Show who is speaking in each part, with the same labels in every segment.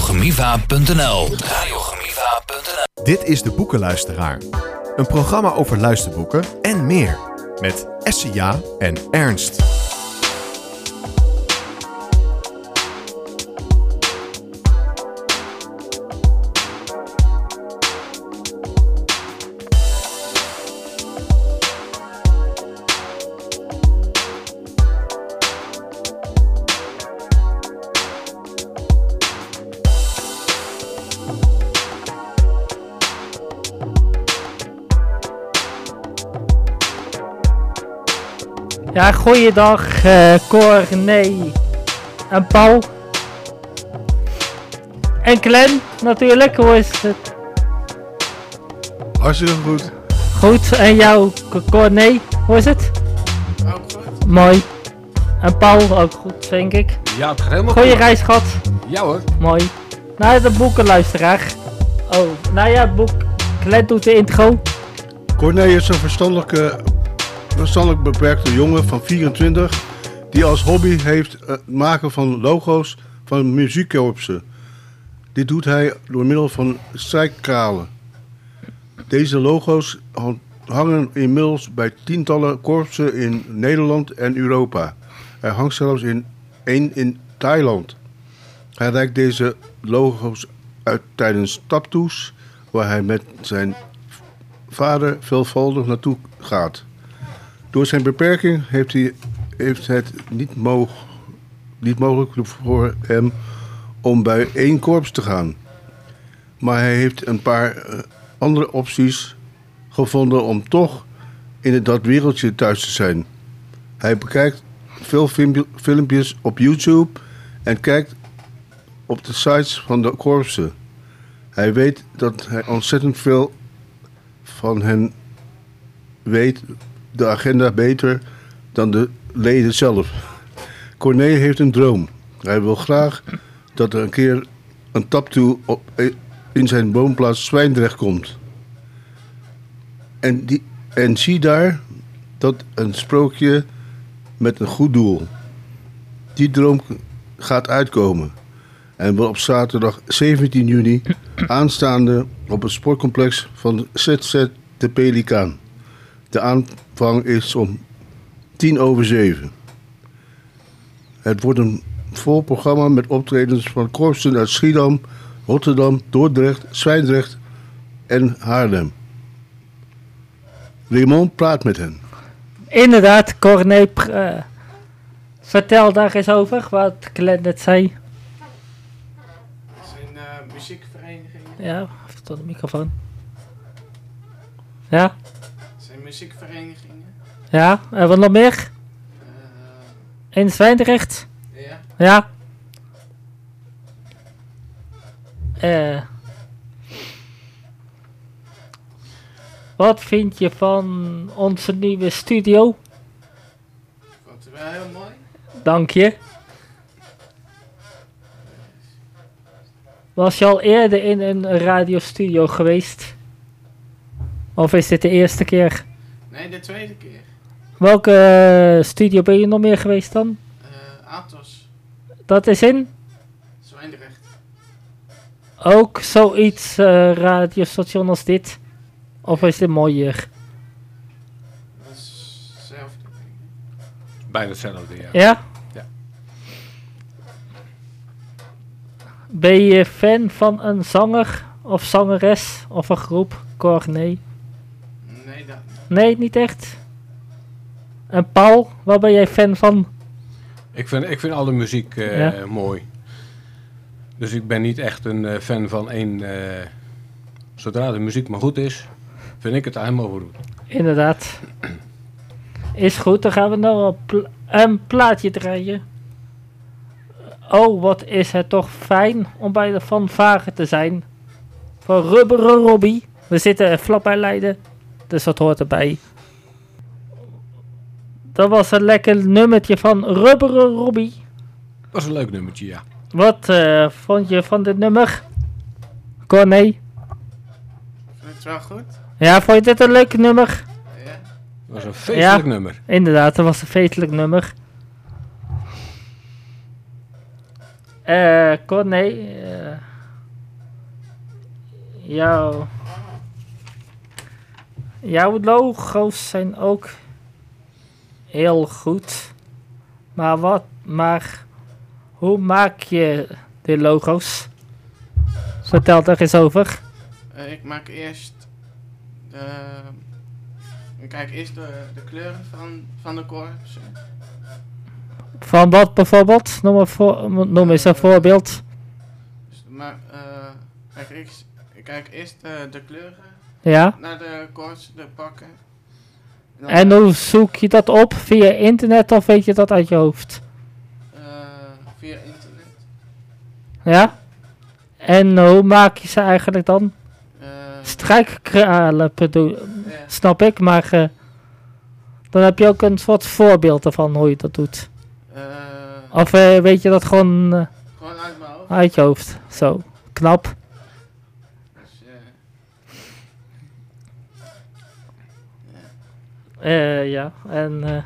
Speaker 1: www.radiogemiva.nl Radiogemiva.nl
Speaker 2: Dit is De Boekenluisteraar. Een programma over luisterboeken en meer. Met Essia en Ernst.
Speaker 3: Ja, goeiedag eh Cor, René en Paul. En Glenn, natuurlijk, hoe is het?
Speaker 4: Hartstikke goed.
Speaker 3: Goed, en jou, C- Cor, nee, hoe is het?
Speaker 4: Ook goed.
Speaker 3: Mooi. En Paul, ook goed, denk ik.
Speaker 4: Ja, het gaat helemaal
Speaker 3: Goeie
Speaker 4: goed.
Speaker 3: reis gehad,
Speaker 4: Ja hoor.
Speaker 3: mooi. Naar de boekenluisteraar. Oh, nou ja, boek. Glenn doet de intro.
Speaker 4: Corné is een verstandelijke, verstandelijk beperkte jongen van 24 die als hobby heeft eh, het maken van logo's van muziekkorpsen. Dit doet hij door middel van strijkkralen. Deze logo's han- hangen inmiddels bij tientallen korpsen in Nederland en Europa. Er hangt zelfs in één in Thailand. Hij reikt deze logo's uit tijdens taptoes, waar hij met zijn vader veelvuldig naartoe gaat. Door zijn beperking heeft, hij, heeft het niet, moog, niet mogelijk voor hem om bij één korps te gaan. Maar hij heeft een paar eh, andere opties gevonden om toch in het dat wereldje thuis te zijn. Hij bekijkt veel filmp- filmpjes op YouTube en kijkt op de sites van de korpsen. Hij weet dat hij ontzettend veel van hen weet de agenda beter dan de leden zelf. Corné heeft een droom. Hij wil graag dat er een keer een taptoe op, in zijn woonplaats Zwijndrecht komt. En, die, en zie daar dat een sprookje met een goed doel. Die droom gaat uitkomen. En wordt op zaterdag 17 juni aanstaande op het sportcomplex van ZZ de Pelikaan. De aanvang is om 10 over 7. Het wordt een vol programma met optredens van korpsen uit Schiedam, Rotterdam, Dordrecht, Zwijndrecht en Haarlem. Raymond praat met hen.
Speaker 3: Inderdaad, Corné, pr- eh, vertel daar eens over wat Glenn net zei.
Speaker 5: Het is een eh, muziekvereniging.
Speaker 3: Ja, even tot de microfoon. Ja,
Speaker 5: Het zijn muziekverenigingen.
Speaker 3: ja. En wat nog meer?
Speaker 5: Eh,
Speaker 3: In Zwijndrecht?
Speaker 5: ja.
Speaker 3: Ja. Eh. Wat vind je van onze nieuwe studio?
Speaker 5: Ik vond het wel heel mooi.
Speaker 3: Dank je. Was je al eerder in een radiostudio geweest? Of is dit de eerste keer?
Speaker 5: Nee, de tweede keer.
Speaker 3: Welke eh, studio ben je nog meer geweest dan?
Speaker 5: Eh Atos,
Speaker 3: Dat is in
Speaker 5: Zwijndrecht.
Speaker 3: ook zoiets eh, radiostation als dit. Of is dit mooier?
Speaker 5: Dat is hetzelfde.
Speaker 6: Bijna hetzelfde, ja.
Speaker 3: Ja?
Speaker 6: Ja.
Speaker 3: Ben je fan van een zanger of zangeres of een groep? Cor, nee.
Speaker 5: Nee, dat
Speaker 3: Nee, niet echt. En Paul, waar ben jij fan van?
Speaker 6: Ik, vind, ik vind alle muziek eh,
Speaker 3: Ja.
Speaker 6: mooi. Dus ik ben niet echt een eh, fan van één... eh, zodra de muziek maar goed is, vind ik het helemaal goed.
Speaker 3: Inderdaad. Is goed, dan gaan we nou een, pla- een plaatje draaien. Oh, wat is het toch fijn om bij de fanfare te zijn. Van Rubberen Robbie. We zitten vlak bij Leiden, dus dat hoort erbij. Dat was een lekker nummertje van Rubberen Robbie.
Speaker 6: Dat is een leuk nummertje, ja.
Speaker 3: Wat eh, vond je van dit nummer? Corné?
Speaker 5: vind ik het wel goed.
Speaker 3: Ja, vond je dit een leuk nummer?
Speaker 5: Ja.
Speaker 6: Dat is een feestelijk nummer.
Speaker 3: Inderdaad, dat was een feestelijk nummer. Eh, Eh, Corné. eh, jouw. Jouw logo's zijn ook heel goed. Maar wat, maar hoe maak je de logo's? Vertel er eens over.
Speaker 5: Eh, ik maak eerst de... Ik kijk eerst de, de kleuren van, van de korpsen.
Speaker 3: Van wat bijvoorbeeld? Noem, een voor, noem eens een voorbeeld.
Speaker 5: Dus, maar eh, kijk, ik, ik kijk eerst eh, de kleuren
Speaker 3: Ja.
Speaker 5: naar de korpsen, de pakken. dan-
Speaker 3: En hoe zoek je dat op? Via internet of weet je dat uit je hoofd?
Speaker 5: eh, via internet.
Speaker 3: Ja? En hoe maak je ze eigenlijk dan?
Speaker 5: Eh,
Speaker 3: Strijkkralen bedoel,
Speaker 5: ja.
Speaker 3: snap ik, maar eh, dan heb je ook een soort voorbeeld ervan hoe je dat doet.
Speaker 5: Eh,
Speaker 3: Of eh, weet je dat gewoon eh,
Speaker 5: Gewoon uit mijn hoofd.
Speaker 3: uit je hoofd? Zo, knap.
Speaker 5: Dus, eh,
Speaker 3: Eh, ja, en... eh,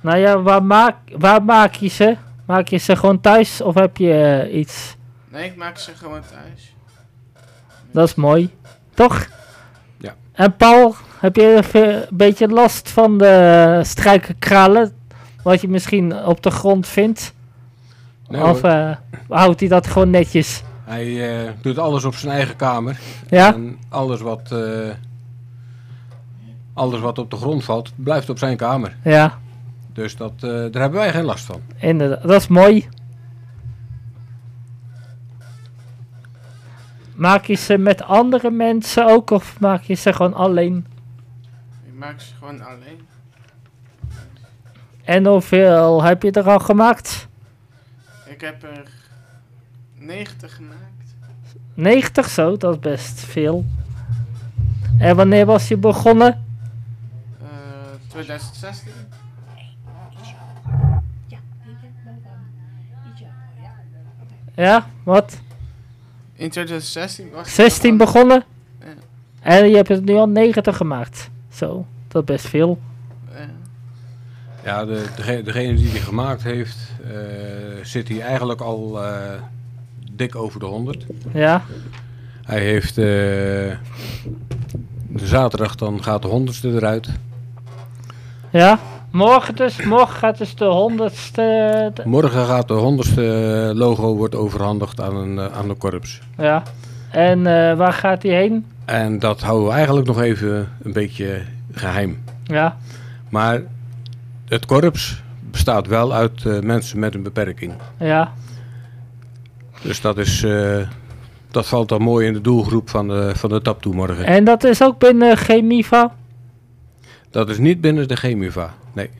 Speaker 3: nou ja, waar maak, waar maak je ze? Maak je ze gewoon thuis of heb je eh, iets?
Speaker 5: nee, ik maak ze gewoon thuis.
Speaker 3: Dat is mooi, toch?
Speaker 6: Ja.
Speaker 3: En Paul, heb je een ve- beetje last van de strijkerkralen? Wat je misschien op de grond vindt?
Speaker 6: Nee,
Speaker 3: of
Speaker 6: hoor.
Speaker 3: eh, houdt hij dat gewoon netjes?
Speaker 6: Hij eh, doet alles op zijn eigen kamer.
Speaker 3: Ja?
Speaker 6: En alles wat, eh, alles wat op de grond valt, blijft op zijn kamer.
Speaker 3: Ja,
Speaker 6: Dus dat, eh, daar hebben wij geen last van.
Speaker 3: inderdaad. Dat is mooi. Maak je ze met andere mensen ook of maak je ze gewoon alleen?
Speaker 5: Ik maak ze gewoon alleen.
Speaker 3: En hoeveel heb je er al gemaakt?
Speaker 5: Ik heb er 90 gemaakt.
Speaker 3: 90 zo, dat is best veel. En wanneer was je begonnen?
Speaker 5: Eh 2016.
Speaker 3: Ja, wat?
Speaker 5: In 2016 was ik
Speaker 3: 16
Speaker 5: begonnen.
Speaker 3: begonnen?
Speaker 5: Ja.
Speaker 3: En je hebt het nu al 90 gemaakt. Zo, dat is best veel.
Speaker 5: Eh,
Speaker 6: Ja, de, dege- degene die die gemaakt heeft, eh, zit hier eigenlijk al eh, dik over de 100.
Speaker 3: Ja,
Speaker 6: Hij heeft eh, de zaterdag, dan gaat de honderdste eruit.
Speaker 3: ja. Morgen dus, morgen gaat dus de eh, 100ste. de-
Speaker 6: Morgen gaat de honderdste logo wordt overhandigd aan, een, eh, aan de korps.
Speaker 3: Ja. En eh, waar gaat hij heen?
Speaker 6: En dat houden we eigenlijk nog even een beetje geheim.
Speaker 3: Ja,
Speaker 6: Maar het korps bestaat wel uit eh, mensen met een beperking.
Speaker 3: ja,
Speaker 6: Dus dat, is, eh, dat valt dan mooi in de doelgroep van de, van de taptoe morgen.
Speaker 3: En dat is ook binnen Chemiva.
Speaker 6: Dat is niet binnen de Gemuva. Nee,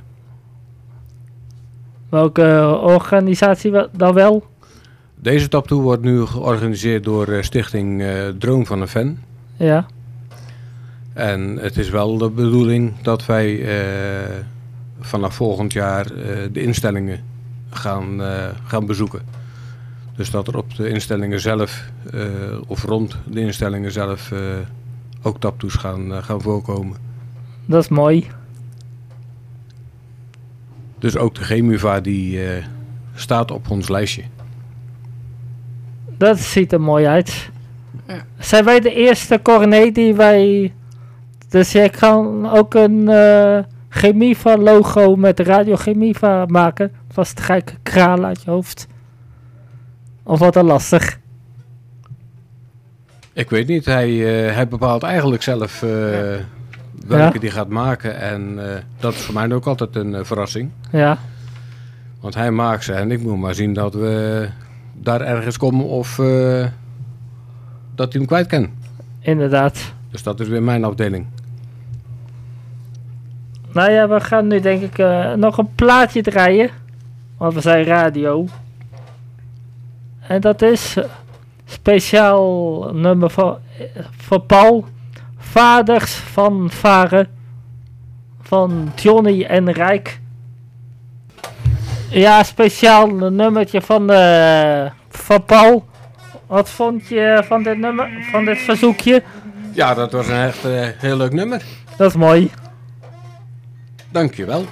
Speaker 3: Welke eh, organisatie we- dan wel?
Speaker 6: deze taptoe wordt nu georganiseerd door eh, stichting eh Droom van een Fan.
Speaker 3: Ja,
Speaker 6: En het is wel de bedoeling dat wij eh, vanaf volgend jaar eh, de instellingen gaan, eh, gaan bezoeken. Dus dat er op de instellingen zelf, eh, of rond de instellingen zelf, eh, ook taptoes gaan, eh, gaan voorkomen.
Speaker 3: dat is mooi.
Speaker 6: Dus ook de Gemuva die eh, staat op ons lijstje.
Speaker 3: Dat ziet er mooi uit.
Speaker 5: Ja.
Speaker 3: Zijn wij de eerste Corné die wij... Dus jij kan ook een eh Chemiva logo met Radio Chemiva maken. Vast gekke kralen uit je hoofd. Of wat dan lastig.
Speaker 6: Ik weet niet, hij, eh, hij bepaalt eigenlijk zelf eh, welke
Speaker 3: Ja.
Speaker 6: die gaat maken. En eh, dat is voor mij ook altijd een eh, verrassing.
Speaker 3: Ja,
Speaker 6: Want hij maakt ze en ik moet maar zien dat we daar ergens komen of eh, dat hij hem kwijt kan.
Speaker 3: inderdaad.
Speaker 6: Dus dat is weer mijn afdeling.
Speaker 3: Nou ja, we gaan nu denk ik eh, nog een plaatje draaien. Want we zijn radio. En dat is eh, speciaal nummer van, eh, van Paul. Vaders van Varen. Van Johnny en Rijk. Ja, speciaal nummertje van, eh, van Paul. Wat vond je van dit nummer, van dit verzoekje?
Speaker 6: Ja, dat was een echt eh, heel leuk nummer.
Speaker 3: Dat is mooi.
Speaker 6: Dankjewel.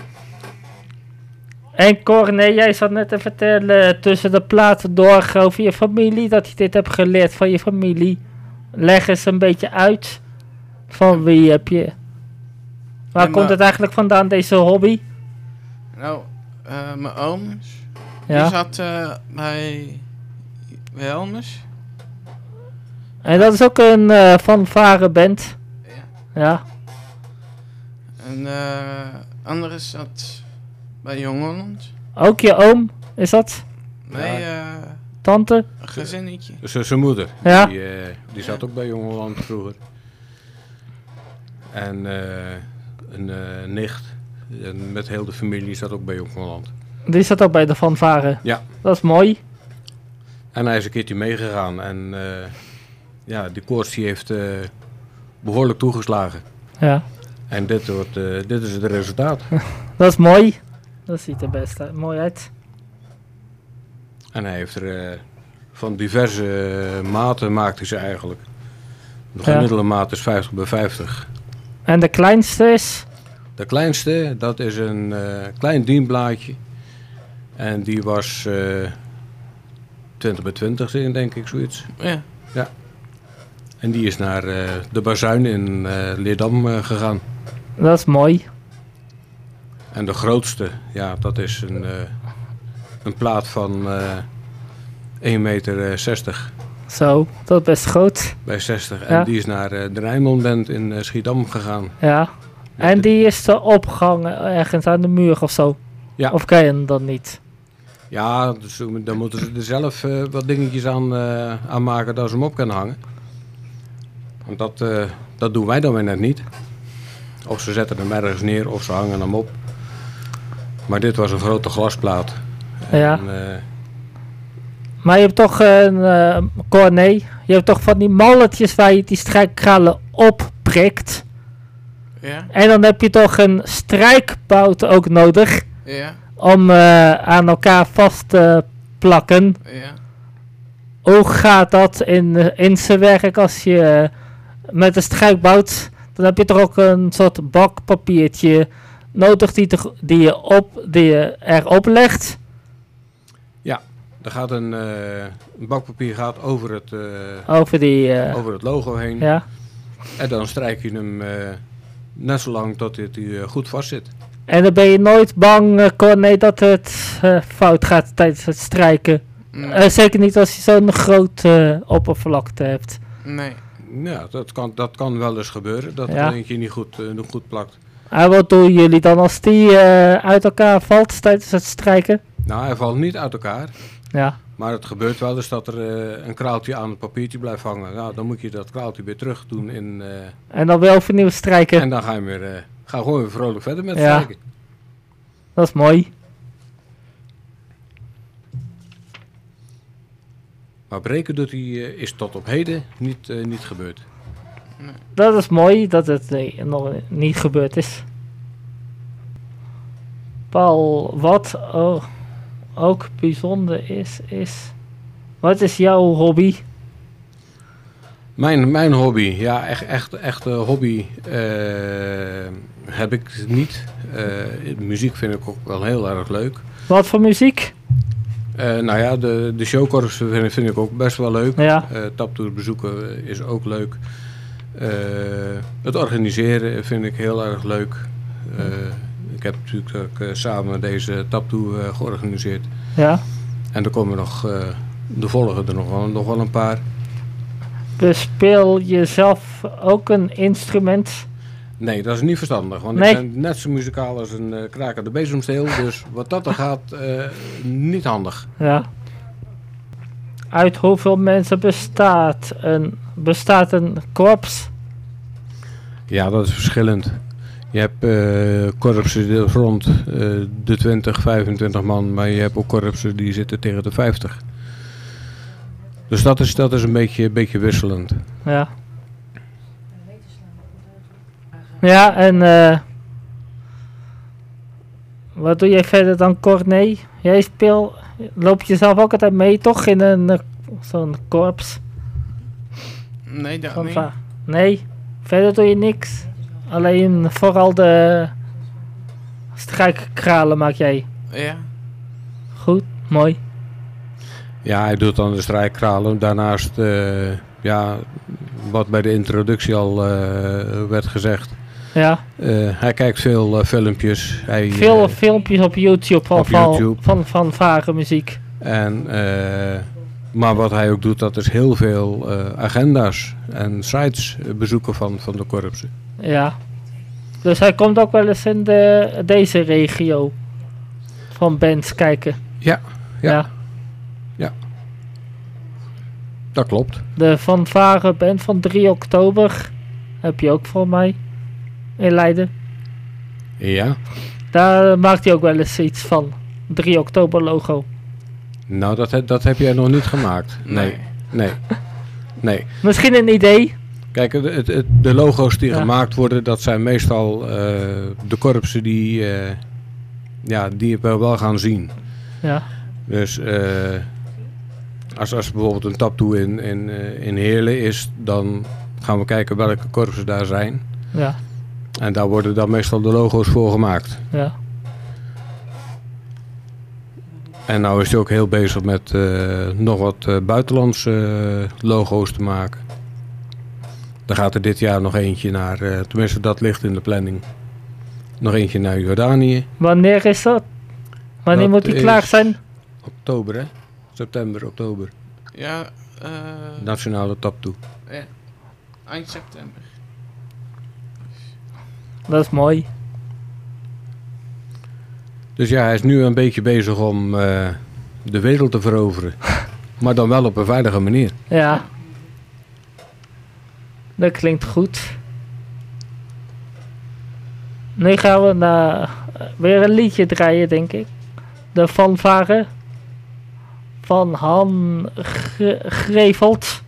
Speaker 3: En Cor, nee, jij zat net te vertellen tussen de platen door over je familie, dat je dit hebt geleerd van je familie. Leg eens een beetje uit van wie heb je. Waar
Speaker 5: En,
Speaker 3: komt
Speaker 5: eh,
Speaker 3: het eigenlijk vandaan, deze hobby?
Speaker 5: Nou, eh, mijn ooms. Die
Speaker 3: Ja.
Speaker 5: zat eh, bij Wilmers.
Speaker 3: En dat is ook een eh fanfare band.
Speaker 5: Ja.
Speaker 3: Ja.
Speaker 5: En eh andere zat bij Jong Holland.
Speaker 3: Ook je oom, is dat?
Speaker 5: Nee, eh,
Speaker 3: Tante?
Speaker 5: een gezinnetje.
Speaker 6: Z- Dus, eh, Zijn moeder,
Speaker 3: Ja.
Speaker 6: die, eh, die zat ook bij Jong Holland vroeger. En eh, een eh, nicht en met heel de familie zat ook bij Jong Holland.
Speaker 3: Die zat ook bij de fanfare.
Speaker 6: Ja.
Speaker 3: Dat is mooi.
Speaker 6: En hij is een keertje meegegaan en eh, ja, die koorts die heeft eh, behoorlijk toegeslagen.
Speaker 3: Ja.
Speaker 6: En dit, wordt, eh, dit is het resultaat.
Speaker 3: Dat is mooi. Dat ziet er best uit- mooi uit.
Speaker 6: En hij heeft er eh, van diverse eh, maten maakt hij ze eigenlijk. De
Speaker 3: Ja.
Speaker 6: gemiddelde maat is 50 bij 50.
Speaker 3: En de kleinste is?
Speaker 6: De kleinste, dat is een eh, klein dienblaadje. En die was eh 20 bij 20 in, denk ik, zoiets.
Speaker 5: Ja.
Speaker 6: En die is naar eh, de bazuin in eh Leerdam eh, gegaan.
Speaker 3: Dat is mooi.
Speaker 6: En de grootste, ja, dat is een, eh, een plaat van eh 1,60 meter eh, 60
Speaker 3: Zo, dat is best groot.
Speaker 6: bij 60.
Speaker 3: Ja.
Speaker 6: En die is naar eh, de Rijnmondband in eh, Schiedam gegaan.
Speaker 3: Ja. En die is er opgehangen ergens aan de muur of zo.
Speaker 6: Ja.
Speaker 3: Of ken je hem dan niet?
Speaker 6: Ja, dus toen- dan moeten ze er zelf eh, wat dingetjes aan, eh, aan maken dat ze hem op kunnen hangen. Want dat, eh, dat doen wij dan weer net niet. Of ze zetten hem ergens neer of ze hangen hem op. Maar dit was een grote glasplaat.
Speaker 3: Ja.
Speaker 6: En, eh,
Speaker 3: Maar je hebt toch een eh, Corné. Je hebt toch van die malletjes waar je die strijkkralen opprikt.
Speaker 5: Ja.
Speaker 3: En dan heb je toch een strijkbout ook nodig.
Speaker 5: Ja.
Speaker 3: Om eh, aan elkaar vast te plakken.
Speaker 5: Ja.
Speaker 3: Hoe gaat dat in, eh, in zijn werk als je eh, met een strijkbout... Dan heb je toch ook een soort bakpapiertje nodig die, te- die, je, op, die je erop legt.
Speaker 6: er gaat een, eh, een bakpapier gaat over het, eh,
Speaker 3: Over die... eh,
Speaker 6: over het logo heen.
Speaker 3: ja.
Speaker 6: En dan strijk je hem eh, net zo lang tot hij eh, goed vast zit.
Speaker 3: En dan ben je nooit bang, eh, Corné, dat het eh, fout gaat tijdens het strijken.
Speaker 5: Nee.
Speaker 3: Eh, zeker niet als je zo'n groot eh, oppervlakte hebt.
Speaker 5: nee.
Speaker 6: Ja, dat kan, dat kan wel eens gebeuren. Dat
Speaker 3: Ja.
Speaker 6: er eentje niet goed, eh, niet goed plakt.
Speaker 3: En wat doen jullie dan als die eh, uit elkaar valt tijdens het strijken?
Speaker 6: Nou, hij valt niet uit elkaar.
Speaker 3: Ja,
Speaker 6: Maar het gebeurt wel eens dat er eh, een kraaltje aan het papiertje blijft hangen. Nou, dan moet je dat kraaltje weer terug doen. In, eh,
Speaker 3: en dan weer overnieuw strijken.
Speaker 6: En dan ga je hem weer, eh, ga gewoon weer vrolijk verder met
Speaker 3: Ja.
Speaker 6: strijken.
Speaker 3: Dat is mooi.
Speaker 6: Maar breken doet hij, eh, is tot op heden niet, eh, niet gebeurd.
Speaker 3: Dat is mooi dat het eh, nog niet gebeurd is. Paul, wat o- ook bijzonder is, is... Wat is jouw hobby?
Speaker 6: Mijn, mijn hobby, ja, echt, echt, echt eh, hobby eh, heb ik niet. Eh, muziek vind ik ook wel heel erg leuk.
Speaker 3: Wat voor muziek?
Speaker 6: Eh, nou ja, de, de showcorps vind, vind ik ook best wel leuk.
Speaker 3: Ja,
Speaker 6: Eh taptour bezoeken eh, is ook leuk. Eh, het organiseren vind ik heel erg leuk. Eh, ik heb natuurlijk ook, eh, samen deze taptour eh, georganiseerd.
Speaker 3: ja.
Speaker 6: En er komen nog, eh, de volgen er nog wel, nog wel een paar.
Speaker 3: Bespeel je zelf ook een instrument?
Speaker 6: Nee, dat is niet verstandig, want
Speaker 3: Nee.
Speaker 6: ik ben net zo muzikaal als een eh kraker de bezemsteel. Dus wat dat er gaat, eh, niet handig.
Speaker 3: Ja. Uit hoeveel mensen bestaat een, bestaat een korps?
Speaker 6: Ja, dat is verschillend. Je hebt eh korpsen die rond eh, de 20, 25 man, maar je hebt ook korpsen die zitten tegen de 50. Dus dat is, dat is een beetje, beetje wisselend.
Speaker 3: Ja. Ja, en eh, wat doe jij verder dan Corné? Jij speel, loop je zelf ook altijd mee toch in een eh, zo'n korps?
Speaker 5: Nee, dat
Speaker 3: Van
Speaker 5: niet.
Speaker 3: va- nee, verder doe je niks. Alleen vooral de strijkkralen maak jij.
Speaker 5: Ja.
Speaker 3: Goed, mooi.
Speaker 6: Ja, hij doet dan de strijkkralen. Daarnaast, eh, ja, wat bij de introductie al eh, werd gezegd.
Speaker 3: Ja,
Speaker 6: eh, hij kijkt veel eh, filmpjes. Hij,
Speaker 3: veel
Speaker 6: eh,
Speaker 3: filmpjes op YouTube van,
Speaker 6: op
Speaker 3: van,
Speaker 6: YouTube.
Speaker 3: van, van vage muziek.
Speaker 6: En, eh, maar wat hij ook doet, dat is heel veel eh, agenda's en sites eh, bezoeken van, van de korpsen.
Speaker 3: Ja. Dus hij komt ook wel eens in de, deze regio van bands kijken.
Speaker 6: Ja, ja. Dat klopt.
Speaker 3: De Vanvaren Band van 3 oktober. Heb je ook voor mij. In Leiden.
Speaker 6: Ja,
Speaker 3: Daar maakt hij ook wel eens iets van. 3 oktober logo.
Speaker 6: nou dat, heb- dat heb jij nog niet gemaakt. Nee, nee, nee.
Speaker 3: Misschien een idee.
Speaker 6: Kijk, het, het- het- de logo's die
Speaker 3: Ja.
Speaker 6: gemaakt worden, dat zijn meestal eh, de korpsen die, eh, ja, die we wel gaan zien.
Speaker 3: Ja.
Speaker 6: Dus eh, als, als bijvoorbeeld een taptoe in, in, eh, in Heerlen is, dan gaan we kijken welke korpsen daar zijn.
Speaker 3: Ja.
Speaker 6: En daar worden dan meestal de logo's voor gemaakt.
Speaker 3: Ja.
Speaker 6: En nou is hij ook heel bezig met eh, nog wat eh, buitenlandse eh, logo's te maken. Daar gaat er dit jaar nog eentje naar, eh, tenminste dat ligt in de planning. Nog eentje naar Jordanië.
Speaker 3: Wanneer is dat? Wanneer
Speaker 6: Dat
Speaker 3: moet hij
Speaker 6: is-
Speaker 3: klaar zijn?
Speaker 6: Oktober hè? September, oktober.
Speaker 5: Ja, eh
Speaker 6: Nationale taptoe.
Speaker 5: eind september.
Speaker 3: Dat is mooi.
Speaker 6: Dus ja, hij is nu een beetje bezig om eh, de wereld te veroveren. maar dan wel op een veilige manier.
Speaker 3: Ja. Dat klinkt goed. Nu gaan we naar, eh, weer een liedje draaien, denk ik. De fanfare van Han Gre- Grevelt.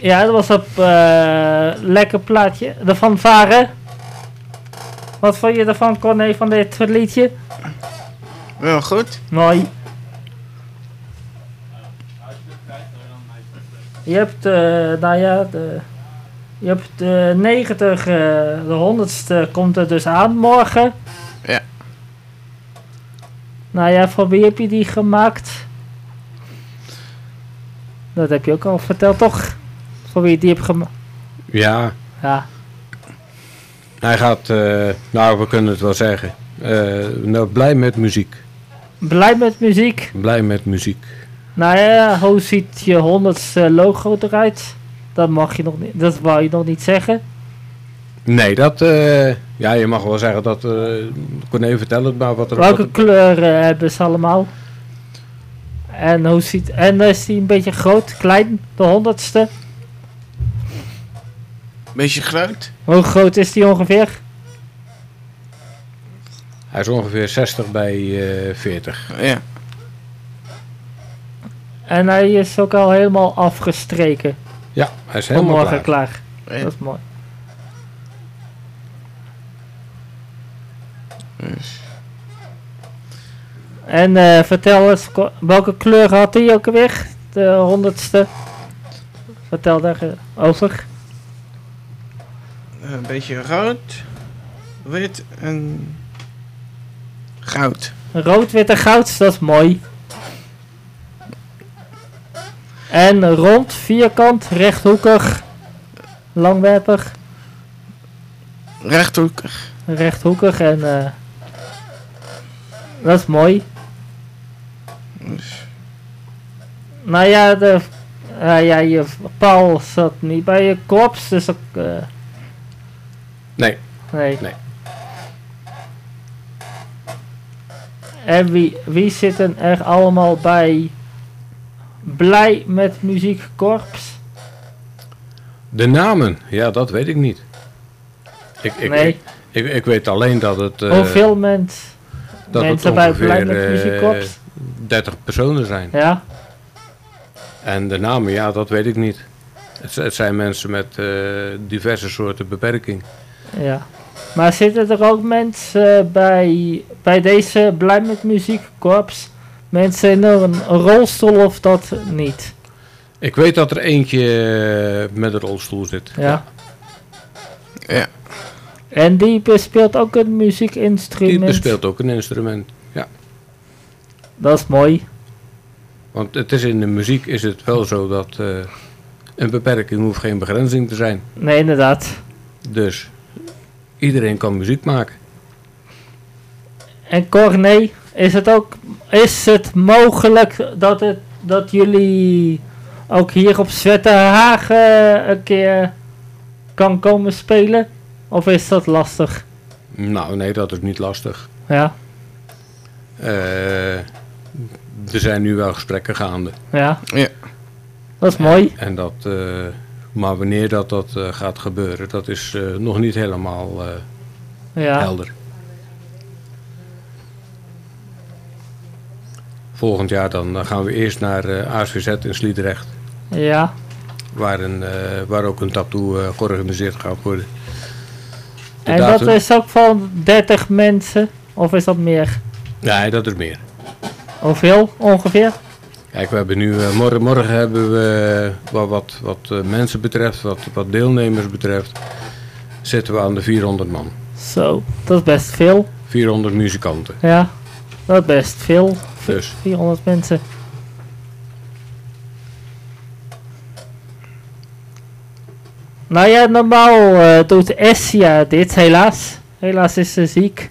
Speaker 3: Ja, dat was een eh, lekker plaatje. De fanfare. Wat vond je ervan, Corné, van dit liedje?
Speaker 5: Wel goed.
Speaker 3: Mooi. Je hebt, eh, nou ja, de, je hebt de 90, eh, de 100ste komt er dus aan morgen.
Speaker 5: Ja.
Speaker 3: Nou ja, voor wie heb je die gemaakt? Dat heb je ook al verteld, toch? Voor wie je die hebt gemaakt.
Speaker 6: Ja,
Speaker 3: Ja,
Speaker 6: hij gaat, eh, nou we kunnen het wel zeggen. Eh, nou, blij met muziek.
Speaker 3: blij met muziek.
Speaker 6: Blij met muziek.
Speaker 3: Nou ja, hoe ziet je 100ste logo eruit? Dat mag je nog niet, dat wou je nog niet zeggen.
Speaker 6: Nee, dat. eh, ja, je mag wel zeggen dat. eh Corné, vertel het maar wat er.
Speaker 3: Welke
Speaker 6: wat er-
Speaker 3: kleuren hebben ze allemaal? En hoe ziet. En is die een beetje groot, klein, de honderdste?
Speaker 5: Beetje groot.
Speaker 3: Hoe groot is die ongeveer?
Speaker 6: Hij is ongeveer 60 bij eh 40.
Speaker 5: Ja.
Speaker 3: En hij is ook al helemaal afgestreken.
Speaker 6: Ja, hij is helemaal
Speaker 3: Vanmorgen
Speaker 6: klaar.
Speaker 3: klaar.
Speaker 5: ja.
Speaker 3: Dat is mooi.
Speaker 5: Dus.
Speaker 3: En eh, vertel eens, ko- welke kleur had hij ook weer? De honderdste. Vertel eh, daarover.
Speaker 5: Een beetje rood, wit en goud.
Speaker 3: Rood, wit en goud, dat is mooi. En rond, vierkant, rechthoekig, langwerpig.
Speaker 5: Rechthoekig.
Speaker 3: rechthoekig en eh, dat is mooi.
Speaker 5: Dus.
Speaker 3: Nou ja, de, eh, ja, je paal zat niet bij je korps, dus ook, eh,
Speaker 6: Nee,
Speaker 3: nee.
Speaker 6: Nee.
Speaker 3: En wie, wie zitten er allemaal bij Blij met Muziek Korps?
Speaker 6: de namen. Ja, dat weet ik niet. Ik, ik,
Speaker 3: nee,
Speaker 6: ik, ik, ik weet alleen dat het. eh,
Speaker 3: hoeveel mens,
Speaker 6: dat
Speaker 3: mensen
Speaker 6: het
Speaker 3: bij Blij
Speaker 6: ongeveer
Speaker 3: met Muziek
Speaker 6: eh
Speaker 3: Korps?
Speaker 6: 30 personen zijn.
Speaker 3: Ja,
Speaker 6: En de namen, ja, dat weet ik niet. Het, z- het zijn mensen met eh, diverse soorten beperking.
Speaker 3: ja. Maar zitten er ook mensen eh, bij, bij deze Blij met Muziek Korps? Mensen in een rolstoel of dat niet?
Speaker 6: Ik weet dat er eentje eh, met een rolstoel zit.
Speaker 3: Ja.
Speaker 5: Ja.
Speaker 3: En die bespeelt ook een
Speaker 6: Die
Speaker 3: muziekinstrument.
Speaker 6: bespeelt ook een instrument.
Speaker 3: Dat is mooi.
Speaker 6: Want het is in de muziek is het wel zo dat eh, een beperking hoeft geen begrenzing te zijn.
Speaker 3: Nee, inderdaad.
Speaker 6: Dus iedereen kan muziek maken.
Speaker 3: En Corné, is het ook is het mogelijk dat, het, dat jullie ook hier op Zwetterhagen een keer kan komen spelen? Of is dat lastig?
Speaker 6: Nou nee, dat is niet lastig.
Speaker 3: Ja,
Speaker 6: Eh, er zijn nu wel gesprekken gaande.
Speaker 3: ja.
Speaker 5: Ja.
Speaker 3: Dat is mooi.
Speaker 6: En dat, eh, maar wanneer dat, dat eh, gaat gebeuren, dat is eh, nog niet helemaal eh,
Speaker 3: Ja,
Speaker 6: helder. Volgend jaar dan eh, gaan we eerst naar eh ASVZ in Sliedrecht.
Speaker 3: ja.
Speaker 6: waar, een, eh, waar ook een tattoo eh, georganiseerd gaat worden. De
Speaker 3: En dat
Speaker 6: datum-
Speaker 3: is ook van 30 mensen? Of is dat meer?
Speaker 6: Nee, dat is meer.
Speaker 3: Hoeveel ongeveer?
Speaker 6: Kijk, we hebben nu, eh, morgen, morgen hebben we, eh, wat, wat, wat eh, mensen betreft, wat, wat deelnemers betreft, zitten we aan de 400 man.
Speaker 3: Zo, dat is best veel.
Speaker 6: 400 muzikanten.
Speaker 3: Ja, dat is best veel.
Speaker 6: Dus.
Speaker 3: 400 mensen. Nou ja, normaal eh, doet Essia dit, helaas. Helaas is ze ziek.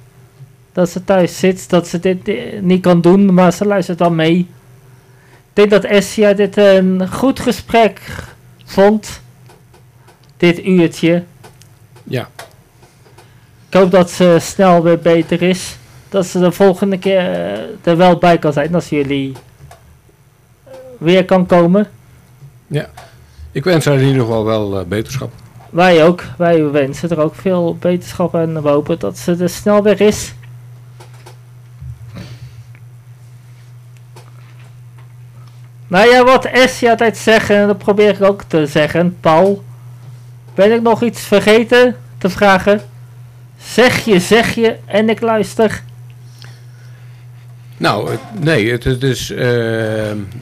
Speaker 3: Dat ze thuis zit, dat ze dit eh, niet kan doen, maar ze luistert dan mee. Ik denk dat Essia dit een goed gesprek vond. Dit uurtje.
Speaker 6: Ja,
Speaker 3: Ik hoop dat ze snel weer beter is. Dat ze de volgende keer eh, er wel bij kan zijn als jullie eh, weer kan komen.
Speaker 6: ik wens haar in ieder geval wel eh, beterschap.
Speaker 3: Wij ook. Wij wensen er ook veel beterschap en we hopen dat ze er snel weer is. Nou ja, wat Essie altijd zeggen, en dat probeer ik ook te zeggen, Paul. Ben ik nog iets vergeten te vragen? Zeg je, zeg je en ik luister.
Speaker 6: Nou, het- nee, het, het is eh,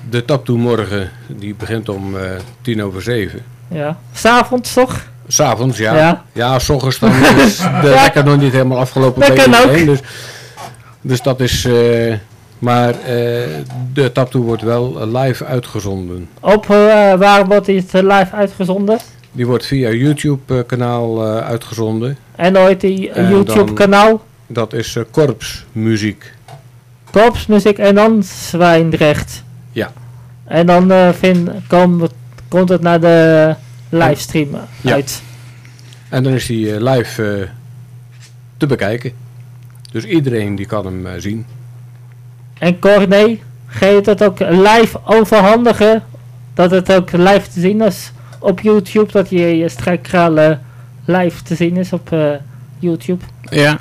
Speaker 6: de tattoo morgen, die begint om eh tien over zeven.
Speaker 3: Ja. S'avonds toch?
Speaker 6: S'avonds, ja.
Speaker 3: Ja.
Speaker 6: Ja, s ochtends dan is de lekker nog niet helemaal afgelopen.
Speaker 3: Dat
Speaker 6: bij
Speaker 3: kan
Speaker 6: iedereen,
Speaker 3: ook.
Speaker 6: Dus, dus dat is... eh, maar eh, de tattoo wordt wel eh, live uitgezonden.
Speaker 3: Op eh, waar wordt dit eh, live uitgezonden?
Speaker 6: Die wordt via YouTube-kanaal eh, uitgezonden.
Speaker 3: En ooit die
Speaker 6: En
Speaker 3: YouTube
Speaker 6: dan-
Speaker 3: kanaal.
Speaker 6: Dat is eh, korpsmuziek.
Speaker 3: Korpsmuziek en dan Zwijndrecht.
Speaker 6: Ja.
Speaker 3: En dan eh vind, kom, komt het naar de livestream
Speaker 6: Ja.
Speaker 3: uit.
Speaker 6: En dan is die eh, live eh, te bekijken. Dus iedereen die kan hem eh, zien.
Speaker 3: En Corné, ga je dat ook live overhandigen? Dat het ook live te zien is op YouTube? Dat je je strijkkralen live te zien is op eh, YouTube?
Speaker 5: Ja.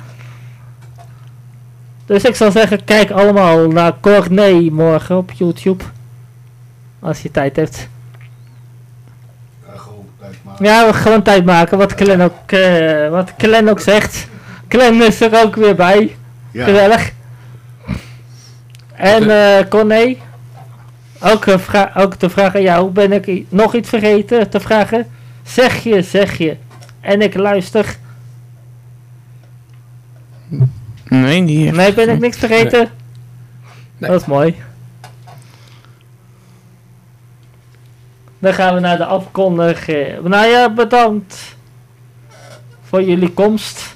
Speaker 3: Dus ik zou zeggen, kijk allemaal naar Corné morgen op YouTube. Als je tijd hebt. Ja, we gaan gewoon tijd maken, wat Glenn ook, eh, wat Glenn ook zegt. Glenn is er ook weer bij.
Speaker 4: Ja.
Speaker 3: Geweldig. En eh Corné, ook, een vra- ook de vraag aan jou. Ben ik i- nog iets vergeten te vragen? Zeg je, zeg je. En ik luister.
Speaker 5: Nee, die eh, heeft-
Speaker 3: Nee, ben ik niks vergeten?
Speaker 6: Nee.
Speaker 3: Dat is mooi. Dan gaan we naar de afkondiging. Nou ja, bedankt voor jullie komst.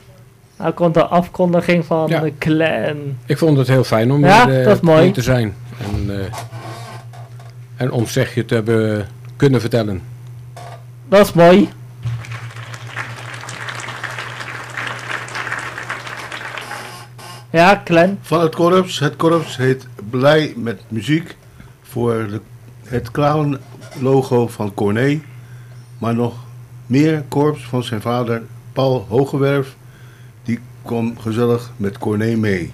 Speaker 3: Nou komt de afkondiging van
Speaker 6: Ja.
Speaker 3: de clan.
Speaker 6: Ik vond het heel fijn om
Speaker 3: Ja,
Speaker 6: hier eh,
Speaker 3: dat is mooi.
Speaker 6: hier te zijn. En, eh, en om zeg je te hebben kunnen vertellen.
Speaker 3: Dat is mooi. Ja, clan.
Speaker 4: Van het korps. Het korps heet Blij met Muziek. Voor de, het clown logo van Corné. Maar nog meer korps van zijn vader Paul Hogewerf. Die kwam gezellig met Corné mee.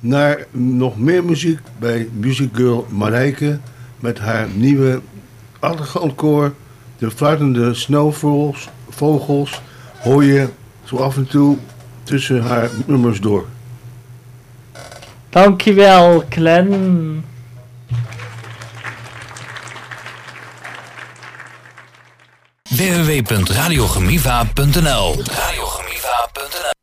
Speaker 4: Naar nog meer muziek bij Music Girl Marijke. Met haar nieuwe achtergrondkoor. De fluitende sneeuwvogels vogels, hoor je zo af en toe tussen haar nummers door.
Speaker 3: Dankjewel, clan.
Speaker 1: www.radiogemiva.nl Radiogemiva.nl